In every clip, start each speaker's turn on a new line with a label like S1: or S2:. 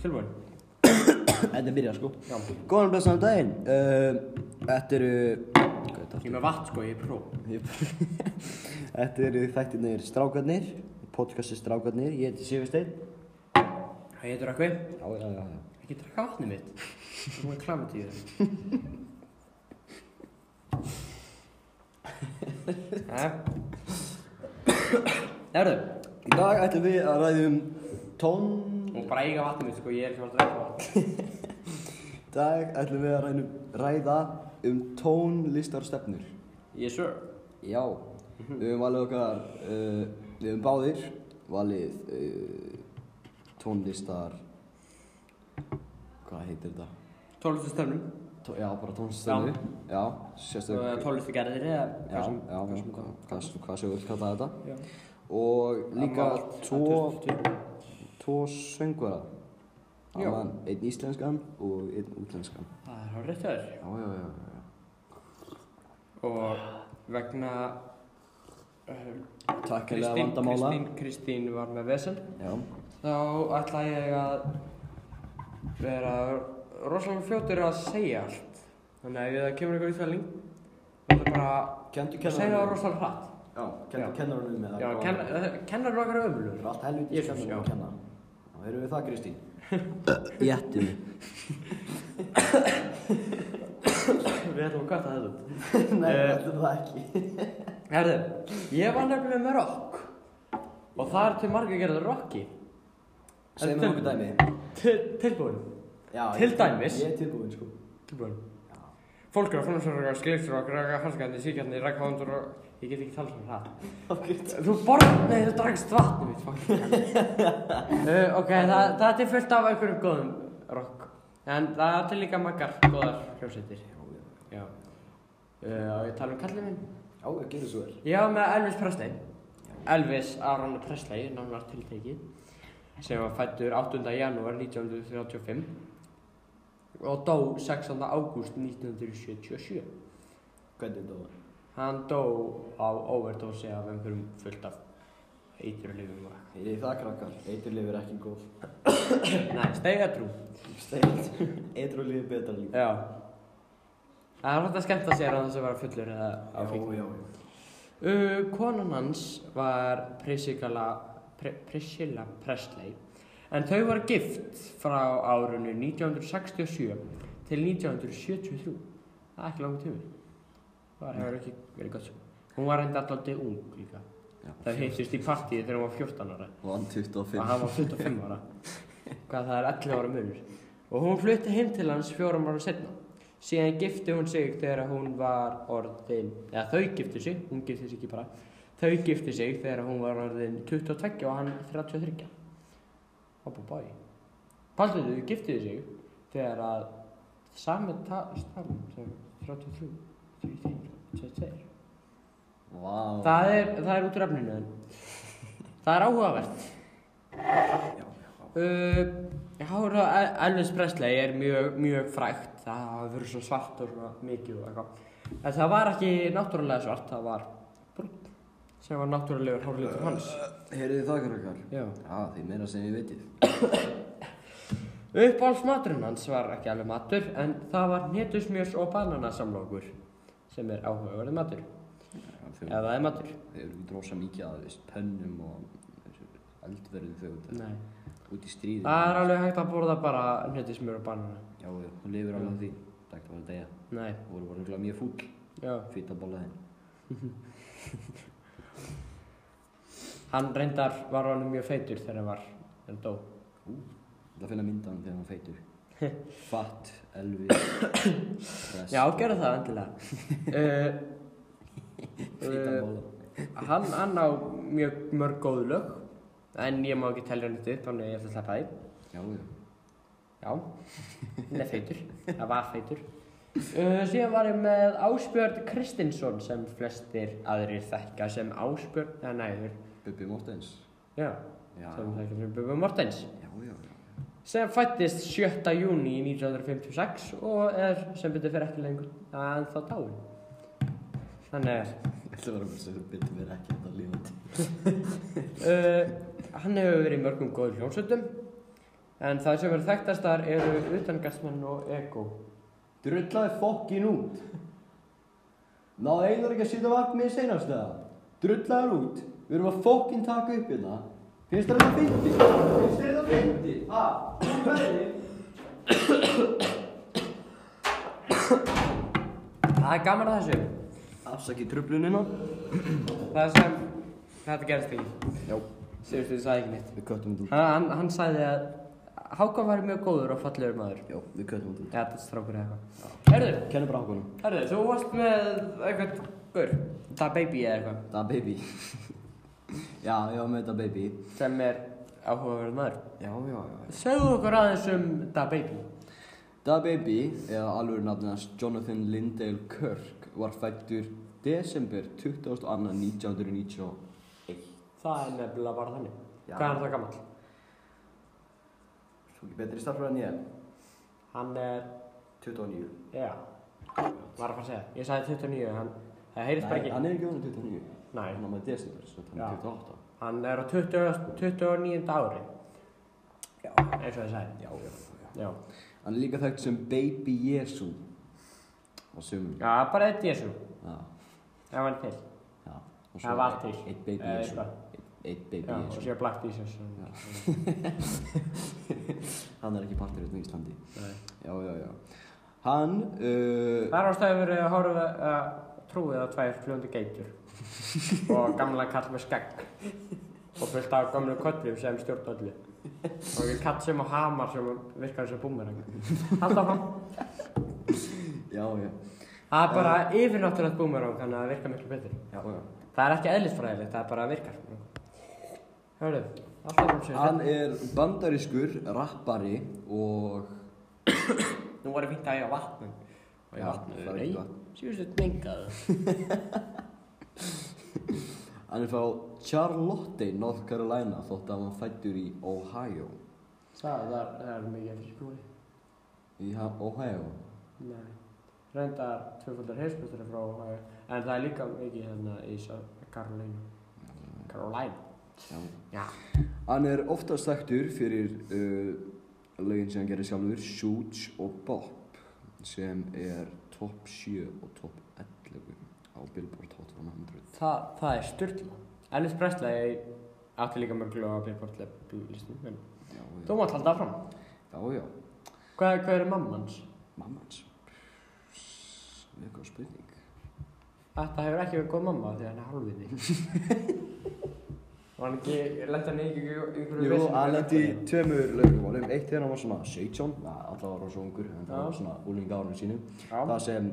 S1: Þjálfur
S2: Þetta byrjar sko
S1: Já.
S2: Góðan og blessaðan daginn uh, Þetta eru Hvað er þetta?
S1: Ég er með vatn sko, ég er pró
S2: aftur? Þetta eru þættirnir Strákarnir Podcasti Strákarnir Ég heiti Sigursteinn
S1: Það heitir Rökkvi
S2: Já, já, já, já
S1: Ekki drakka vatnið mitt Það er svona klamið í það Erðu
S2: Í dag ætlum við að ræðum tón
S1: Og bara eiga vatnið mitt sko, ég er ekki að fara að drakka vatn
S2: Í dag ætlum við að ræðum, ræða um tónlistarstefnur
S1: Yes sir
S2: Já Mhm. Við höfum valið okkar uh, Við höfum báðir valið uh, tónlistar Hvað heitir þetta?
S1: Tólustu stöfnum
S2: Tó, já, bara tónlistarstefnu Já, sérstök
S1: Tólustu eh, gerðir eða
S2: Já,
S1: hvað sem-
S2: já,
S1: hvað sem
S2: hvað,
S1: það-
S2: hvað, hvað sem við vilt kalla þetta
S1: Já.
S2: Og líka
S1: Amma allt,
S2: tvo,
S1: allt tuttugu.
S2: tvo söngvara
S1: Já.
S2: Aman, einn íslenskan og einn útlenskan
S1: Það er hár rétt hjá þér
S2: Já, já, já, já, já
S1: Og vegna uh,
S2: Takkilega
S1: Kristín-
S2: vandamála
S1: Kristín, Kristín var með vesen
S2: Já,
S1: Þá ætla ég að vera rosalega fljótur að segja allt. Þannig að ef það kemur einhver útfælling, þá ætla bara
S2: Kenndu
S1: að segja það rosalega hratt.
S2: Já,
S1: Já.
S2: kenndu kennarunum með
S1: Já, kenn- kennar eru okkar
S2: Það
S1: öflur.
S2: er allt helvítið
S1: Jesús,
S2: skemmtum
S1: já.
S2: að kenna. Þá erum við það, Kristín. Jættum.
S1: Við ætlum að kvarta þetta út.
S2: Nei,
S1: Eh.
S2: þetta er það ekki.
S1: Herðu, ég var nefnilega með rock. Og það er til margir gerðið rocki.
S2: Segð mér
S1: Til-
S2: okkur dæmi.
S1: Til- Tilbúin.
S2: Já,
S1: Til
S2: ég-
S1: dæmis.
S2: Ég er tilbúinn, sko.
S1: Tilbúin. Fólk eru að fónusverða, skleifstur okkur, halskandi, síkjandi, rækhafundur og... Ég get ekki talað um það. Þú borð, nei þú dragst vatni mitt fucking uh, Ok, það, það er fullt af einhverjum góðum rock En það er til líka margar góðar hljómsveitir Já uh, Og ég tala um kallið minn
S2: Já, ég gerði svo vel.
S1: Ég var með Elvis Presley Elvis Aron Presley, nánar tiltekið sem var fættur 8. janúar 1935 og dó 6. ágúst 1977
S2: Hvernig þetta var?
S1: Hann dó á overdose af einhverjum fullt af eiturlifum og
S2: Heyrið þið það, krakkar. Eiturlif er ekki góð.
S1: Nei, steiga trú.
S2: Steint. Eiturlif er betra líf.
S1: Já. Það er hægt að skemmta sér að þess að vera fullur eða á fíkn.
S2: já, já.
S1: Uh, konan hans var Priscilla, Pri, Priscilla Presley en þau var gift frá árunni 1967 til 1973. Það er ekki langt tími. Það hefur ekki verið gott svo. Hún var enda alltaf ung líka.
S2: Já.
S1: Það heitist í partíi þegar hún var 14 ára.
S2: Og hann 25.
S1: og hann var 25 ára hvað það er 11 ára munur og hún flutti heim til hans fjórum ára setna síðan gifti hún sig þegar hún var orðin eða þau gifti sig, hún gifti sig ekki bara þau gifti sig þegar hún var orðin 22 og hann 33 hoppa bæ Paldur, þau giftiði sig þegar að sami stafn sem 33 33, 22
S2: Vá.
S1: það er, það er út úr efninu en það er áhugavert
S2: Já, já.
S1: Uh, já, það- Elvis Presley er mjög, mjög frægt, það hafa verið svo svart og svona mikið og eitthvað. En það var ekki náttúrulega svart, það var brúnn, sem var náttúrulegur hárlítur hans.
S2: Eh, Heyrið þið það, krakkar.
S1: Já.
S2: Já, þið meira sem ég veitir.
S1: Uppáhaldsmaturinn hans var ekki alveg matur, en það var hnetusmjörs og bananasamlokur, sem er áhugaverðið matur,
S2: Þið
S1: ef það er matur.
S2: þið eru ekki rosa mikið að, veist, pönnum og eldverðu þau
S1: Nei.
S2: út í stríði.
S1: Það er alveg hægt að borða bara hnetusmjör og banana.
S2: Já, já, hún lifir alveg á því. Takk fyrir að degja.
S1: Nei,
S2: Þú voru bara örugglega mjög fúll.
S1: já.
S2: Fýta ballaðinn.
S1: Hann reyndar var honum mjög feitur þegar hann var, en dó.
S2: Það finna myndan þegar hann feitur. Fatt, Elvis, Press.
S1: Já, gerðu það endilega uh,
S2: Fýta
S1: uh,
S2: bolla.
S1: hann, hann á mjög mörg góð lög En ég má ekki telja hann upp, þannig að ég ætla að sleppa því
S2: Já, já.
S1: Já, hann er feitur, það var feitur uh, Síðan var ég með Ásbjörn Kristinsson sem flestir aðrir þekka sem Ásbjörn, eða næður
S2: Bubbi Mortens.
S1: Já,
S2: Já,
S1: sem þekka fyrir Bubba Mortens
S2: já, já. já.
S1: sem fættist 7. júni 1956 og er sem betur fyrir ekki lengur en þá dáin Þannig að
S2: Ég ætla að vera með þessu byrtu mér ekki þetta lífandi.
S1: Uh, hann hefur verið í mörgum góður hljómsveitum En það sem eru þekktastar eru utangartsmenn og ego.
S2: Drullaði fokkin út. Náði einar ekki að sitja vakt með seinast eða? Drullaði út. Við erum að fokkin taka upp hérna. Finnst þér þetta fyndi? Finnst þér þetta fyndi? Ha? Þú verðið?
S1: Það er gaman að þessu.
S2: Afsakið tröflunina.
S1: Það sem þetta gerist ekki.
S2: Já.
S1: Sigurstuði sagði ekki neitt.
S2: Við köttum þetta út.
S1: Hann, hann, hann sagði að Hákon var mjög góður og fallegur maður.
S2: Já, við köttum þetta út.
S1: Eða þetta strákur eða eitthvað. Herður,
S2: Kennum bara hákunum.
S1: herður, þú varst með eitthvað gaur. Da Baby eða eitthvað.
S2: Da baby. já, ég var með da baby.
S1: Sem er áhugaverð maður.
S2: Já, já, já.
S1: Segðu okkur aðeins um Da Baby.
S2: Da baby, eða alveg nafnast Jonathan Lindale Kirk, var fættur desember 22. 1991.
S1: Það er nefnilega bara þannig.
S2: Já.
S1: Hvað er það gammal?
S2: Svo ekki betri starfröð en ég.
S1: Hann er,
S2: 29.
S1: já, var að fara að segja. Ég sagði 29, hann, það heyrist bara
S2: Nei,
S1: ekki.
S2: hann er ekki orðin 29.
S1: Nei,
S2: Hann er með desember, svo hann
S1: Já.
S2: er 28.
S1: hann er á 20, 29. ári,
S2: Já.
S1: eins og ég sagði.
S2: Já, já, já.
S1: Já,
S2: Hann er líka þekkt sem Baby Jesu. Og sumum.
S1: já bara eitt Jésu,
S2: Já.
S1: ef hann er til.
S2: Já, og
S1: Það var til.
S2: Eitt baby
S1: Eða
S2: Jesu.
S1: eitthvað.
S2: Eitt- Eitt baby
S1: Já, og
S2: Jesu.
S1: séu Black Jesus.
S2: Já.
S1: og-
S2: Hann er ekki partur hérna í Íslandi.
S1: Nei.
S2: Já, já, já. Hann, uh,
S1: Það er ástæður verið að horfa að trúið á tvær fljóndi geitur og gamla kall með skegg og fullt af gamlu köllum sem stjórn öllu og ég kall sem á hamar sem virkar sem búmerang. Alltaf hann.
S2: já, já,
S1: Það er bara yfirnáttúrulegt búmerang þannig að það virkar miklu betur.
S2: já, já.
S1: Það er ekki eðlisfræðilegt, það er bara virkar. Hörru, alltaf um sér.
S2: Hann er bandarískur, rappari og...
S1: Nú var ég fínt að ég á vatnum. Og ég
S2: Já,
S1: vatnum.
S2: það er
S1: Nei,
S2: ekki vatn.
S1: síðustu mengaðu.
S2: Hann er frá Charlotte, North Carolina, þótt að hann fættur í Ohio.
S1: Það það er, það er mikið eftir skúli.
S2: Í ha- Ohio?
S1: Nei, reyndar tvöfaldar heilsbúttur frá Ohio, en það er líka mikið hérna í South Carolina. Carolina?
S2: Já.
S1: Já.
S2: Hann er oftast þekktur fyrir uh, lögin sem hann gerir sjálfur, Shoots og Bop, sem er topp 7 og topp 11 á Billboard Hot 100.
S1: Þa, það er styrla. Elvis Presley átti líka mörglu á Billboard listum, en
S2: Já,
S1: þú
S2: já,
S1: mátt halda fram.
S2: já, já.
S1: Hvað, hvað er mamma hans?
S2: mamma hans. Það er eitthvað spurning.
S1: Þetta hefur ekki verið góð mamma því að hann er hálfviði. Var hann ekki, lenda hann ekki í einhverju
S2: Jú,
S1: veseni með
S2: hann lendi í
S1: lögguna?
S2: tveimur lögumálum. Eitt þegar hann var svona 17, na, alltaf var hann svo ungur, en það
S1: Já.
S2: var svona úling árunum sínum.
S1: Já,
S2: Það sem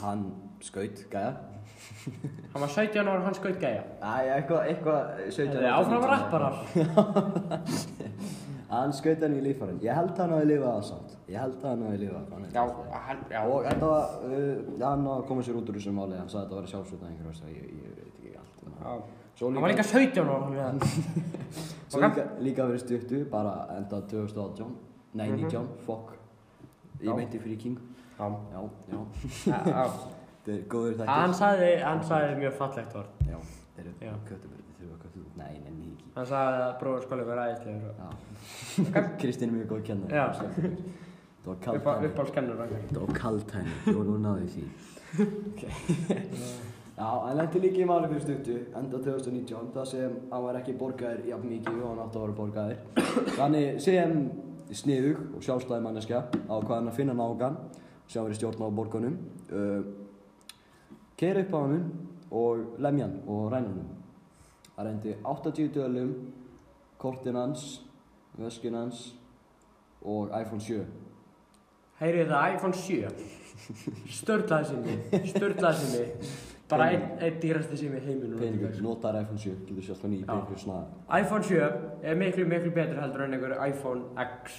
S2: hann skaut, gæja.
S1: hann var 17 ára og hann skaut gæja.
S2: Æ, eitthvað, eitthvað 17
S1: Það er áfram rapparar.
S2: Hann skaut hann í lífarinn. Ég held hann hafi lifað það samt. Ég held hann hafi lifað það.
S1: Já, hann, já.
S2: Og þetta var, uh, hann hafa komið sér út úr þessu máli, hann sagði að þetta var sjálfsvitað einhverjum, það ég, ég veit ekki allt um hann.
S1: Já.
S2: Svo
S1: Hann var líka 17 ára. þannig að-
S2: Svo
S1: Ok.
S2: líka, líka verið stuttu, bara enda 2018, nei 19, fuck, ég
S1: Mhm. Já.
S2: meinti fyrir King,
S1: Já.
S2: já, já,
S1: Já, já.
S2: þetta er góður þættir.
S1: Hann sagði, hann sagði mjög fallegt orð.
S2: Já, þeir
S1: Já.
S2: eru köttum, þeir þurfa að köttum, nei, nei, nei, ekki.
S1: Hann sagði að bróður skóli verið æðislegur og
S2: Já, Kristinn er mjög góð kennar.
S1: Já.
S2: Það var kalt
S1: upp,
S2: henni,
S1: upp á skennur og eitthvað.
S2: það var kalt henni, og nú náðu ég því. Já, hann lendi líka í máli fyrir stuttu, enda 2019, það sem hann var ekki borgaðir jafn mikið og hann átti að vera borgaðir. Þannig sem sniðug og sjálfstæði manneskja á hvað hann að finna nágan, sem hann verið stjórn á borgunum, uh, keira upp á hann og lemja hann og ræna hann. Það reyndi 80 dölum, kortin hans, vöskin hans og iPhone 7.
S1: Heyrið það iPhone 7. Störlaði sími, störlaði sími. Bara einn ein dýrasti sími í heiminum.
S2: Peningur, notar iPhone 7, getur sjálft hann í
S1: Já.
S2: peningur svona.
S1: iPhone 7 er miklu, miklu betur heldur en einhver iPhone X,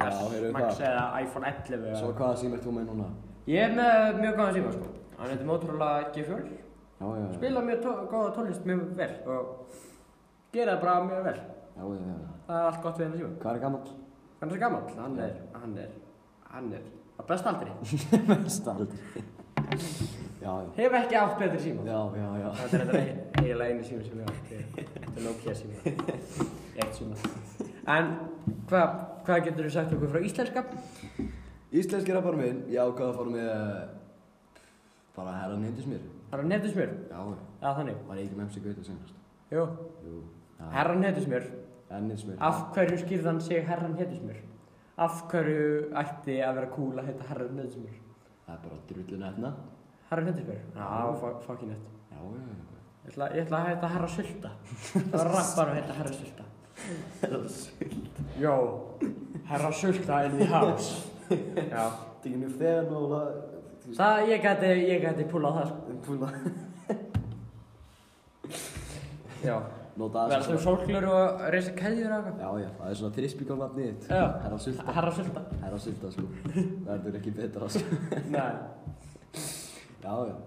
S2: Já,
S1: S,
S2: heyrðu
S1: Max
S2: það.
S1: eða iPhone 11. eða-
S2: Svo hvaða sím ert þú með núna?
S1: Ég er með mjög góðan síma sko. Hann heitir Motorola G4.
S2: Já, já, já.
S1: Spila mjög tó- góða tónlist mjög vel og gera bara mjög vel.
S2: Já, já, já.
S1: Það er allt gott við hennar síma.
S2: Hvað er gammal?
S1: Hann er svo gammal, hann er, hann er, hann er á besta aldri.
S2: Best aldrei. já, já.
S1: Hef ekki átt betri síma.
S2: Já, já, já.
S1: Þetta er þetta eiginlega einu síma sem ég átt. Þetta er Nokia síma. Eitt síma. En hvað, Hvað getur þú sagt okkur frá íslenska?
S2: Íslenski rappar minn, ég ákvað að fara með eh, bara herran heimtis mér.
S1: Það er netusmjör.
S2: Já,
S1: Já, þannig.
S2: var ég ekki með MC Gauta senast?
S1: Jú.
S2: Jú.
S1: Herran netusmjör.
S2: Ennismir.
S1: Af hverju skýrði hann sig herran netusmjör? Af hverju ætti að vera cool að heita herran netusmjör?
S2: Það er bara drullin hérna.
S1: Herran netusmjör? Já, fucking net.
S2: Já, já, já.
S1: Ég ætla, ég ætla að heita herra sulta. Það var rappar að heita herra sulta.
S2: Herran Sulta.
S1: Jó. Herra sulta in the house. Já.
S2: Það er hérna. ekki nú þegar nála.
S1: Það, ég gæti, ég gæti púlað það, sko.
S2: Púla.
S1: Já.
S2: Nota
S1: Verður þú
S2: aðeins.
S1: sólglur og reysa keðjur og
S2: Já, já, það er svona trispíkálnafnið þitt.
S1: Já.
S2: Herran
S1: eitthvað?
S2: Sulta.
S1: Herra sulta.
S2: Herran Sulta, sko. Verður ekki betra, sko.
S1: Nei.
S2: Já, já.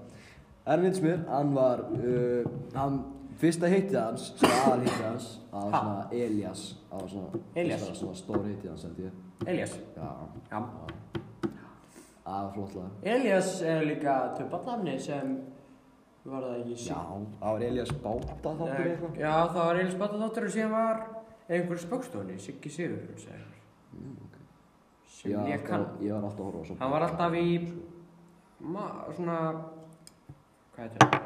S2: Ervins mér, hann var, uh, hann, fyrsta heitið hans, svona aðal heitið hans, það var
S1: Ha?
S2: svona Elias, það var svona,
S1: Elías?
S2: það var svona stór heitið hans, held ég.
S1: Elias.
S2: Já,
S1: Já.
S2: já. Það var flott lag.
S1: Elias er líka töpallafni sem var það ekki
S2: Já, það var Elias Báta þáttur eða
S1: Nei,
S2: eitthvað.
S1: Já, það var Elias Bata þáttur og síðan var einhver spökstóni, Siggi Sigurður sem,
S2: Mm, ok.
S1: sem
S2: var
S1: ég
S2: alltaf-
S1: kann
S2: Ég var alltaf að horfa á svo.
S1: Hann var alltaf í- ma, svona hvað heitir það?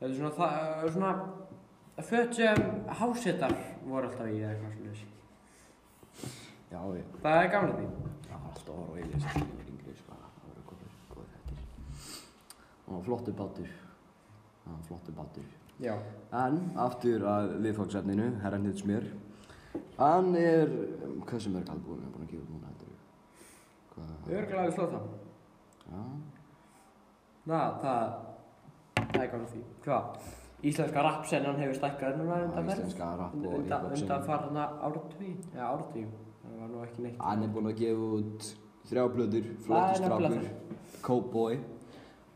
S1: Þetta er svona það, svona föt sem hásetar voru alltaf í eða eitthvað svona
S2: Já, ég,
S1: Það er gamla því
S2: ég var alltaf að horfa á Elias þegar ég var yngri, sko. Það voru góðir, góðir hættir. Hann var flottur bátur. Hann var flottur bátur.
S1: Já
S2: En aftur að viðfangsefninu, herran hins mér. Hann er, um, hversu mörg albúin er hann búinn að gefa út núna, heldur við? Hvað?
S1: Örgulega við slóð það
S2: Já,
S1: Na, það Það er gamla því Hvað? Íslenska rappsennan hefur stækkað núna
S2: það er
S1: undan verð
S2: íslenska rap og
S1: Undan,
S2: hip-hop
S1: undan
S2: sem.
S1: farna áratví Já, áratví Það var nú ekki neitt
S2: Hann er búinn að gefa út þrjá blöður,
S1: Það er
S2: flottur
S1: nefnilega
S2: strákur, cowboy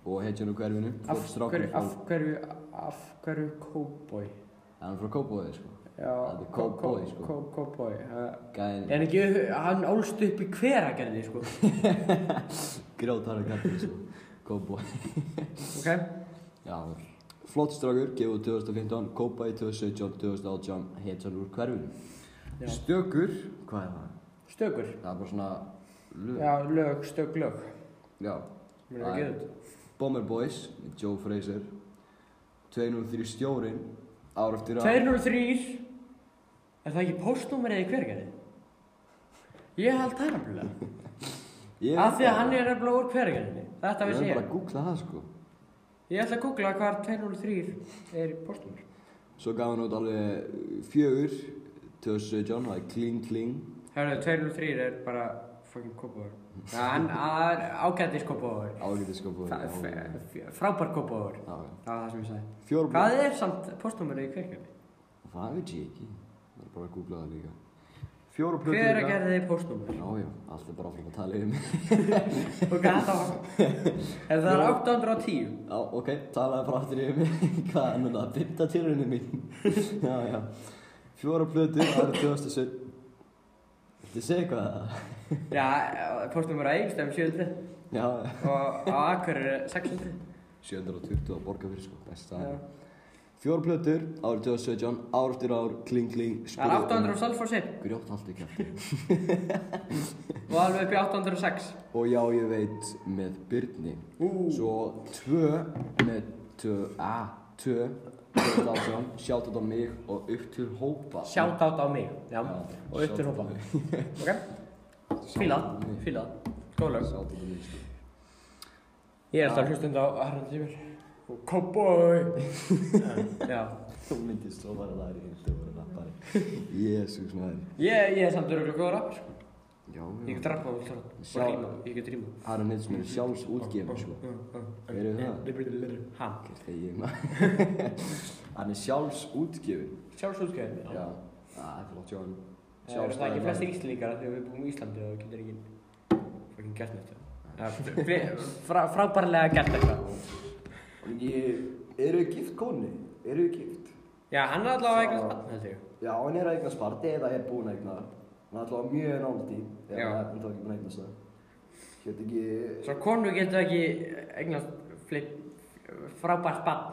S2: og heitjan úr hverfinu,
S1: Af
S2: flottur strákur. sko.
S1: hverju, af hverju, af hverju cowboy?
S2: Hann er frá cowboy, sko.
S1: Já,
S2: Það er
S1: có-
S2: cowboy,
S1: có-
S2: sko.
S1: có- Cowboy, það
S2: Gæðin,
S1: En ekki, hann ólst upp í hveragerði, sko.
S2: grátar að kalla sko. Cowboy.
S1: Ok?
S2: Já, flottur strákur, gefa út 2015, cowboy 2017, 2018, heitjan úr hverfinu.
S1: Já.
S2: Stökur, hvað er það?
S1: Stökur.
S2: Það er bara svona lög.
S1: Já, lög, stök lög.
S2: Já.
S1: Mér er ekki auðvitað.
S2: Bomber Boys, Joe Fraser. 203 stjórin, ár eftir ár.
S1: 203, er það ekki postnúmerið í hveragerði? Ég held það nefnilega.
S2: Ég
S1: Af því að hann er nefnilega úr hveragerðinni. Þetta
S2: Ég
S1: vissi
S2: er bara
S1: ég.
S2: að googla það sko.
S1: Ég ætla að googla hvar 203 er í postnúmer.
S2: Svo gaf hann út alveg eh, fjögur, 2017, það er Kling Kling.
S1: Hörðu, 203 er bara fucking kópaður. Já, hann hann er ágættis kópaður.
S2: Ágætið sko búið.
S1: Þa- f- f- Frábær kópaður.
S2: Já, já.
S1: Það var það sem ég sagði.
S2: Fjórblöð.
S1: Hvað er samt postnúmerið í hveragerði?
S2: Það veit ég ekki. Það er bara að googla það líka. Fjóra plötur
S1: Hver að gera þið postnúmer?
S2: Já, já, allt er bara áfram að tala um.
S1: Og gata var... Ef það er 810,
S2: Já, ok, talaði bara aftur yfir mig, hvað er núna, fymta tilraunin mín? já, já, fjóra plötur, árið 2007. Viltu segja eitthvað að það?
S1: já, postnúmer að Egilstöðum 700
S2: Já,
S1: og á Akureyri er 600.
S2: 720 á Borgarfyrir, sko, besta.
S1: Já.
S2: Fjóra plötur, árið 2017, ár eftir ár, kling, kling,
S1: Það er 800 á Salfossi
S2: Grjótt haldi kæfti.
S1: og alveg upp í 806.
S2: Og já, ég veit, með Byrni.
S1: Ú,
S2: Svo tvö, með tvö, a, tvö, 2018, sjáttat á mig og upp til hópa.
S1: sjátt á mig. Já, og upp til
S2: shoutout á
S1: hópa.
S2: mig.
S1: Ok, fílað, fílað. Góð lög.
S2: Sjáttat á mig, sko.
S1: Ég er alltaf hlustund á Harald Tímur. Og Cowboy. Já,
S2: Þú myndist svo bara læri en þú verður lappari. Jésús maður.
S1: ég, ég er samt öruglega góð rappar. sko.
S2: Já,
S1: Ég get rappað og svona. Og
S2: Sjá-
S1: rímað, ég get rímað.
S2: Aron Hilsson er sjálfs útgefin, sko. Eru það?
S1: það? Hann.
S2: Hvert er ég maður? Hann er sjálfs útgefin.
S1: Sjálfsútgefin,
S2: Já. Það er flott hjá hann.
S1: Það eru það ekki flestir íslendingar af því að við búum í Íslandi og getur ekki fucking gert neitt. sko? Það er fri- Frá, frábærlega gert eitthvað.
S2: Ég... Eru þið gift konni? Eru þið gift?
S1: Já, hann er allavega eitthvað spann, held ég.
S2: Já, hann er að eignast barn eða er búinn að eignast. Hann er alltaf mjög náldi.
S1: Já.
S2: Já. Hann er þá ekki búinn að eignast það. Hér ekki...
S1: Svo konu getur ekki eignast fli- frábært spann.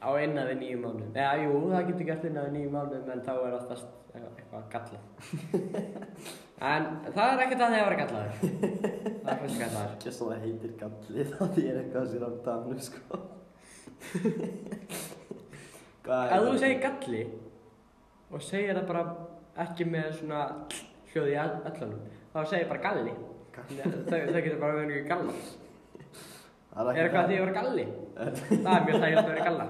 S1: á innan við nýju mánuðum. Eða, jú, það getur gert innan við nýju mánuðum, en þá er oftast eitthvað eitthvað gallað. en það er ekkert að því að vera gallaður. það er ekki gallaður.
S2: Ekki svo það heitir galli þá því er eitthvað sér á danu sko Hvað
S1: Ef þú segir galli og segir það bara ekki með svona hljóði í öllunum, þá segir bara galli.
S2: Galli.
S1: Þau, þau getur bara verið galla.
S2: það Eh.
S1: Er eitthvað að því að vera galli? það er mjög þægilegt að vera galla.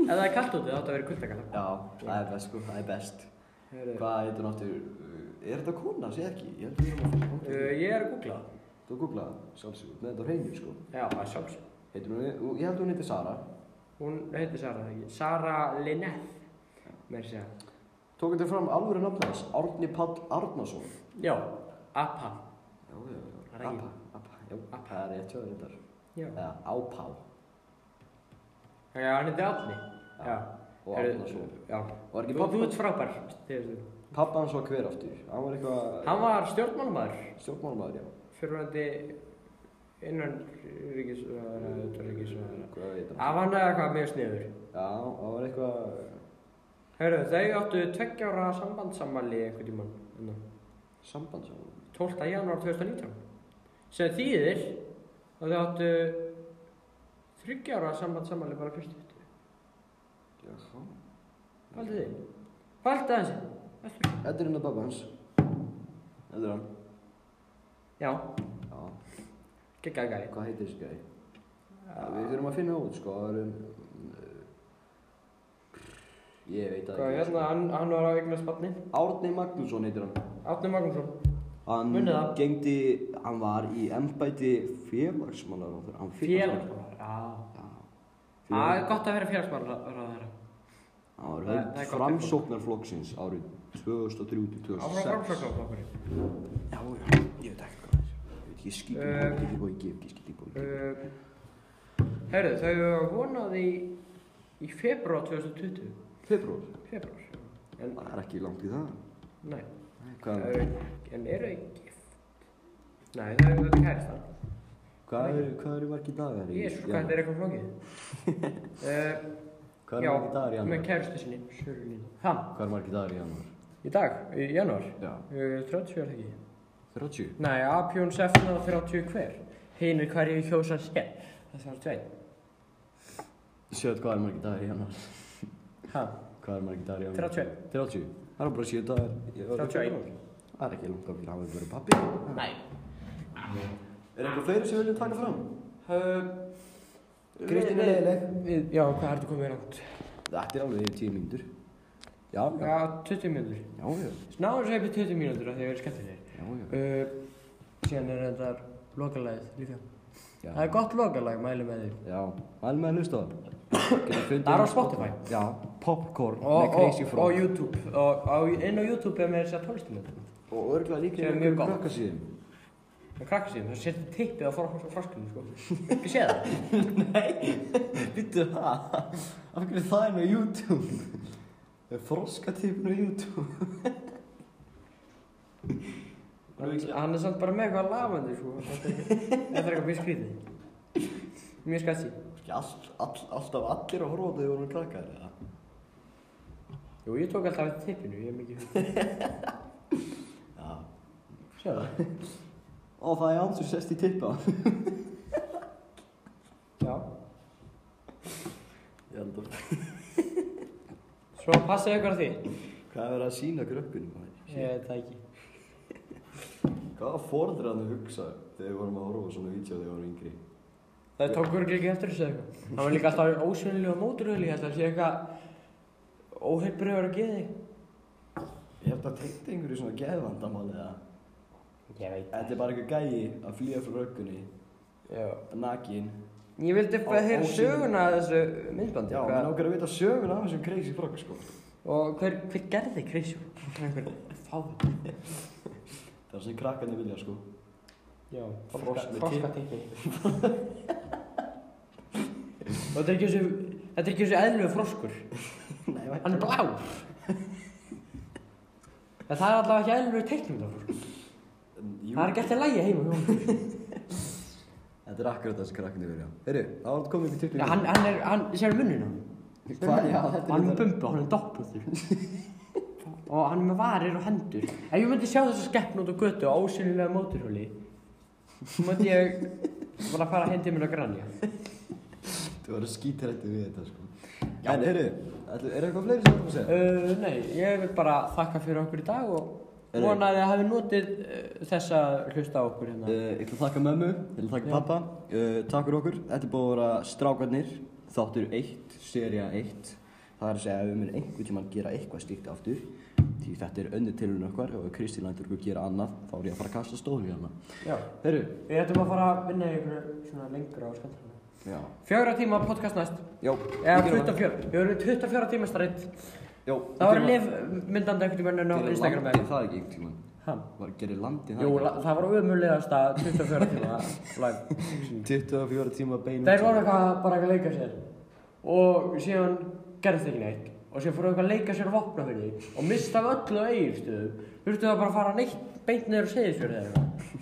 S1: Ef það er kallt úti þá átt að vera kuldagalla.
S2: Já, það er best sko, það er best
S1: Heyrðu,
S2: Hvað heitir náttúrulega, er þetta kona, sé ekki, ég held að ég er
S1: uh, ég er að googla það.
S2: Þú googlaði það, sjálfsögur, með þetta á hreinu sko
S1: Já, að sjálfsög.
S2: Heitir hún, ég held hún heitir Sara
S1: Hún heitir Sara, það ekki? Sara Linneth, mér segja.
S2: Tók hendur fram alvöru nafn hans, Árni Pall Arnason
S1: Já, Appa.
S2: Já, já, já,
S1: Það er ekki.
S2: Apa, Apa, já, Apa, það er rétt sjóður reyndar
S1: Já.
S2: Eða Ápá
S1: Já, hann heitir Átni. Já.
S2: Ah, og
S1: Heyrðu,
S2: Arnason
S1: Já.
S2: Var ekki
S1: Þú þú
S2: pappa,
S1: ert frábær, þegar þú.
S2: pappa hans var hver aftur, hann var eitthvað
S1: Hann var stjórnmálmaður,
S2: Stjórnmálmaður, já,
S1: fyrirvændi innan ríkisvæðara, utanríkisvæðara.
S2: hvað heitir hann?
S1: Af hann er eitthvað mjög sniður.
S2: Já, hann var eitthvað,
S1: Hörru, þau áttu tveggjára sambandsammali einhvern tímann. hérna,
S2: sambandsáðum
S1: 12. janúar 2019. Sem þýðir að þau áttu þryggjára sambandsammali bara fyrst eftir.
S2: Jaha
S1: Faldi þig. Faldi þessi. Veltu.
S2: Þetta er hennar pappa hans Þetta er hann,
S1: Já,
S2: já,
S1: geggjað gæði.
S2: hvað heitir þessi gæði? Ja, við þurfum að finna út sko, það eru Ég veit það
S1: Hvað,
S2: ekki
S1: hérna, hann, hann var á eignast barni.
S2: sko. Árni Magnússon heitir hann
S1: Átni Magnússon.
S2: Hann
S1: Munið það.
S2: gengdi, hann var í embæti félagsmálar Hann
S1: Félagsmálar. Já.
S2: Já,
S1: Það
S2: félagsmálar
S1: er gott að vera félagsmálar
S2: Hann var
S1: Það- það
S2: höfð
S1: er gott
S2: framsóknarflokksins árið 2003-2006
S1: Áfram framsöknarflokkurinn.
S2: Já, já, ég veit ekki hvað það er Ég veit ekki, skýtum
S1: Eh,
S2: uh, ekki bói, ég ekki skýtum bói
S1: Uh, Herru, þau hafa vonað í, í februar 2020.
S2: Februar,
S1: Februar, já. En,
S2: það er ekki langt í það
S1: nei,
S2: Nei,
S1: þau
S2: Hvað,
S1: eru ekki- en eru ekki gift. Nei, þau eru þetta kærastan.
S2: hvað eru hvað eru margir dagar í
S1: Jésus, hvað þetta er eitthvað flókið. Uh,
S2: Hvað
S1: já,
S2: eru margir dagar í
S1: með
S2: januar?
S1: kærastu sinni, Sörlín. Hann,
S2: Hvað eru margir dagar í januar?
S1: í dag, í januar,
S2: Já,
S1: uh, 30 er það ekki.
S2: 30
S1: Nei, apjón sefna 30 hver. Hinn er hverju hjósa sér. Það þarf tveit.
S2: Sjöðu hvað eru margir dagar í januar?
S1: Ha,
S2: Hvað eru margir dagar í januar?
S1: 31.
S2: 30 Það eru bara 7 dagar í-
S1: 31.
S2: Það er ekki langt að fyrir að hafa verið pappi
S1: Nei.
S2: Er eitthvað fleiri sem við viljum taka fram?
S1: Uh,
S2: Kristín er leiðileg.
S1: Við, já, hvað ertu komið langt?
S2: Þetta er alveg yfir 10 mínútur Já, já,
S1: Já, 20 mínútur.
S2: já, já,
S1: Snáður svo hefði 20 mínútur af því að það er skemmtilegir.
S2: já, já.
S1: Uh, síðan er þetta lokalagið líka.
S2: já.
S1: Það er gott lokalag, mæli með því.
S2: Já, mælu með að hlusta á það. Getur fundið-
S1: Það er á Spotify.
S2: Já, Popcorn með
S1: Og, og,
S2: Crazy Frog.
S1: og YouTube. Og, og inn á YouTube er með þess að tólistumöndur.
S2: og örgulega líka
S1: Sem er
S2: í
S1: mjög
S2: einhverjum
S1: gott.
S2: krakkasíðum.
S1: Það krakkar síðan, það setur tippið á fórhans og froskunum, sko. Ekki séð það?
S2: Vittu það? Af hverju það er nú YouTube? Froskatipin á YouTube.
S1: Hann- Hann er samt bara með eitthvað lafandi, sko. Þetta er eitthvað- þetta er eitthvað mjög skrítið. Mjög skatsi.
S2: Ekki all, all, alltaf allir að horfa á það þegar vorum krakkar eða?
S1: Jú, ég tók alltaf eftir tippinu, ég er mikið...
S2: Já.
S1: Sér það?
S2: Ó, það er ansur sest í tippa.
S1: Já.
S2: Ég held að.
S1: Svo passið ykkur að því.
S2: Hvað er verið að sína krökkunum það?
S1: Ég veit það ekki.
S2: Hvað var forðræðan að hugsa þegar við vorum að horfa á svona vídeo þegar við vorum yngri?
S1: Það tók örglega ekki eftir þessu eða eitthvað. Það var líka alltaf ósynlega móturöðli, ég held að sé eitthvað óheilbröður að geði.
S2: Ég held að tengta einhverju svona geðvandamáli eða?
S1: Ég veit
S2: Þetta er bara einhver gæi að flýja frá röggunni,
S1: Já.
S2: nakin.
S1: Ég vildi bara
S2: Ó-
S1: heyra
S2: ósýnileg.
S1: söguna að þessu myndbandi.
S2: Já,
S1: hvað-
S2: mér langar að vita söguna af þessum crazy frog, sko.
S1: Og hver, hver gerði Kristján? Einhver fáður.
S2: Það er sem krakkarnir vilja, sko.
S1: Já,
S2: frosk með
S1: froskatikki. Og þetta er ekki þessu, þetta er ekki þessu eðlögu froskur.
S2: Nei, vænt.
S1: Hann er blár. En það er allavega ekki eðlögu teiknum það froskur.
S2: Jú,
S1: Það er ekki eftir lægi heima hjá honum.
S2: þetta er akkurat það sem krakkarnir vilja. Heyrðu, það var komið upp í 20
S1: Já, hann, hann er, hann, sér munnina
S3: Hvað, já, þetta
S1: hann er
S3: er
S1: með bumbu, hann er doppóttur og hann er með varir og hendur ef ég myndi sjá þessa skeppn út á götu á ósynlega móturhjóli þá myndi ég bara fara heim til mér að grænja
S2: Þú verður skítrættið við þetta sko.
S1: Já.
S2: En eru, er eitthvað fleiri sem þú erum að segja?
S1: uh, nei, ég vil bara þakka fyrir okkur í dag og
S2: Er-
S1: vona að þið hafi notið uh, þess að hlusta á okkur
S2: Uh,
S1: hérna
S2: ég ætla að þakka mömmu, ég ætla að
S1: Já.
S2: þakka pappa, uh, takk fyrir okkur. Þetta er búið að vera strákarnir, þáttur 1, seria 1. Það er að segja að við munum einhvern tímann gera eitthvað slíkt aftur. Því þetta er önnur tilhörun okkar og ef Kristín lætur okkur gera annað, þá er ég að fara að kasta stóðum í hana.
S1: já,
S2: Herru,
S1: við ætlum að fara að vinna í einhverju svona lengra á skandalina
S2: já,
S1: fjögra tíma podcast næst
S2: já,
S1: eða 24, við erum í 24 tíma strætt
S2: já.
S1: það var liv myndandi einhvern tímann á Instagram eða
S2: Gerði
S1: eitthvað.
S2: það ekki einhvern tímann?
S1: Ha?
S2: Var- Gerði landið það
S1: Jú,
S2: ekki?
S1: la- það var umurlegast að 24 tíma live.
S2: 24 tíma beinum
S1: Þeir voru eitthvað bara eitthvað að leika sér og síðan gerðu þeir ekki neitt og síðan fóru eitthvað að leika sér á vopnafyrði og mista af öllu eiginstöðu þurftu það bara að fara neitt beint niður og segja sér þeir eitthvað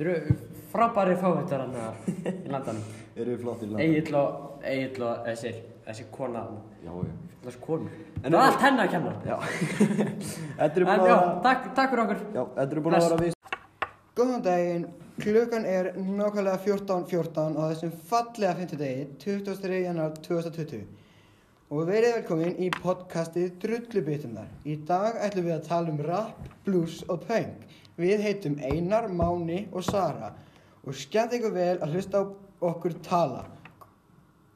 S1: Þeir eru frábæri fávittar hann í landanum
S2: Eru við flott í landa?
S1: Egil og, Egil og þessir, þessi kona þarna.
S2: Já, já
S1: þessi konur Það var
S2: En eru-
S1: allt henni að kenna
S2: Já Þetta eru búin
S1: En
S2: að
S1: já,
S2: vera
S1: takk, takk fyrir okkur
S2: Já, þetta eru búin að
S1: Bless.
S2: vera við
S4: Góðan daginn, klukkan er nákvæmlega 14.14 á þessum fallega 50 degi, 23. januar 2020 og verið velkomin í podcastið Drullubitumnar. Í dag ætlum við að tala um rap, blues og punk. Við heitum Einar, Máni og Sara og skemmt ykkur vel að hlusta á okkur tala.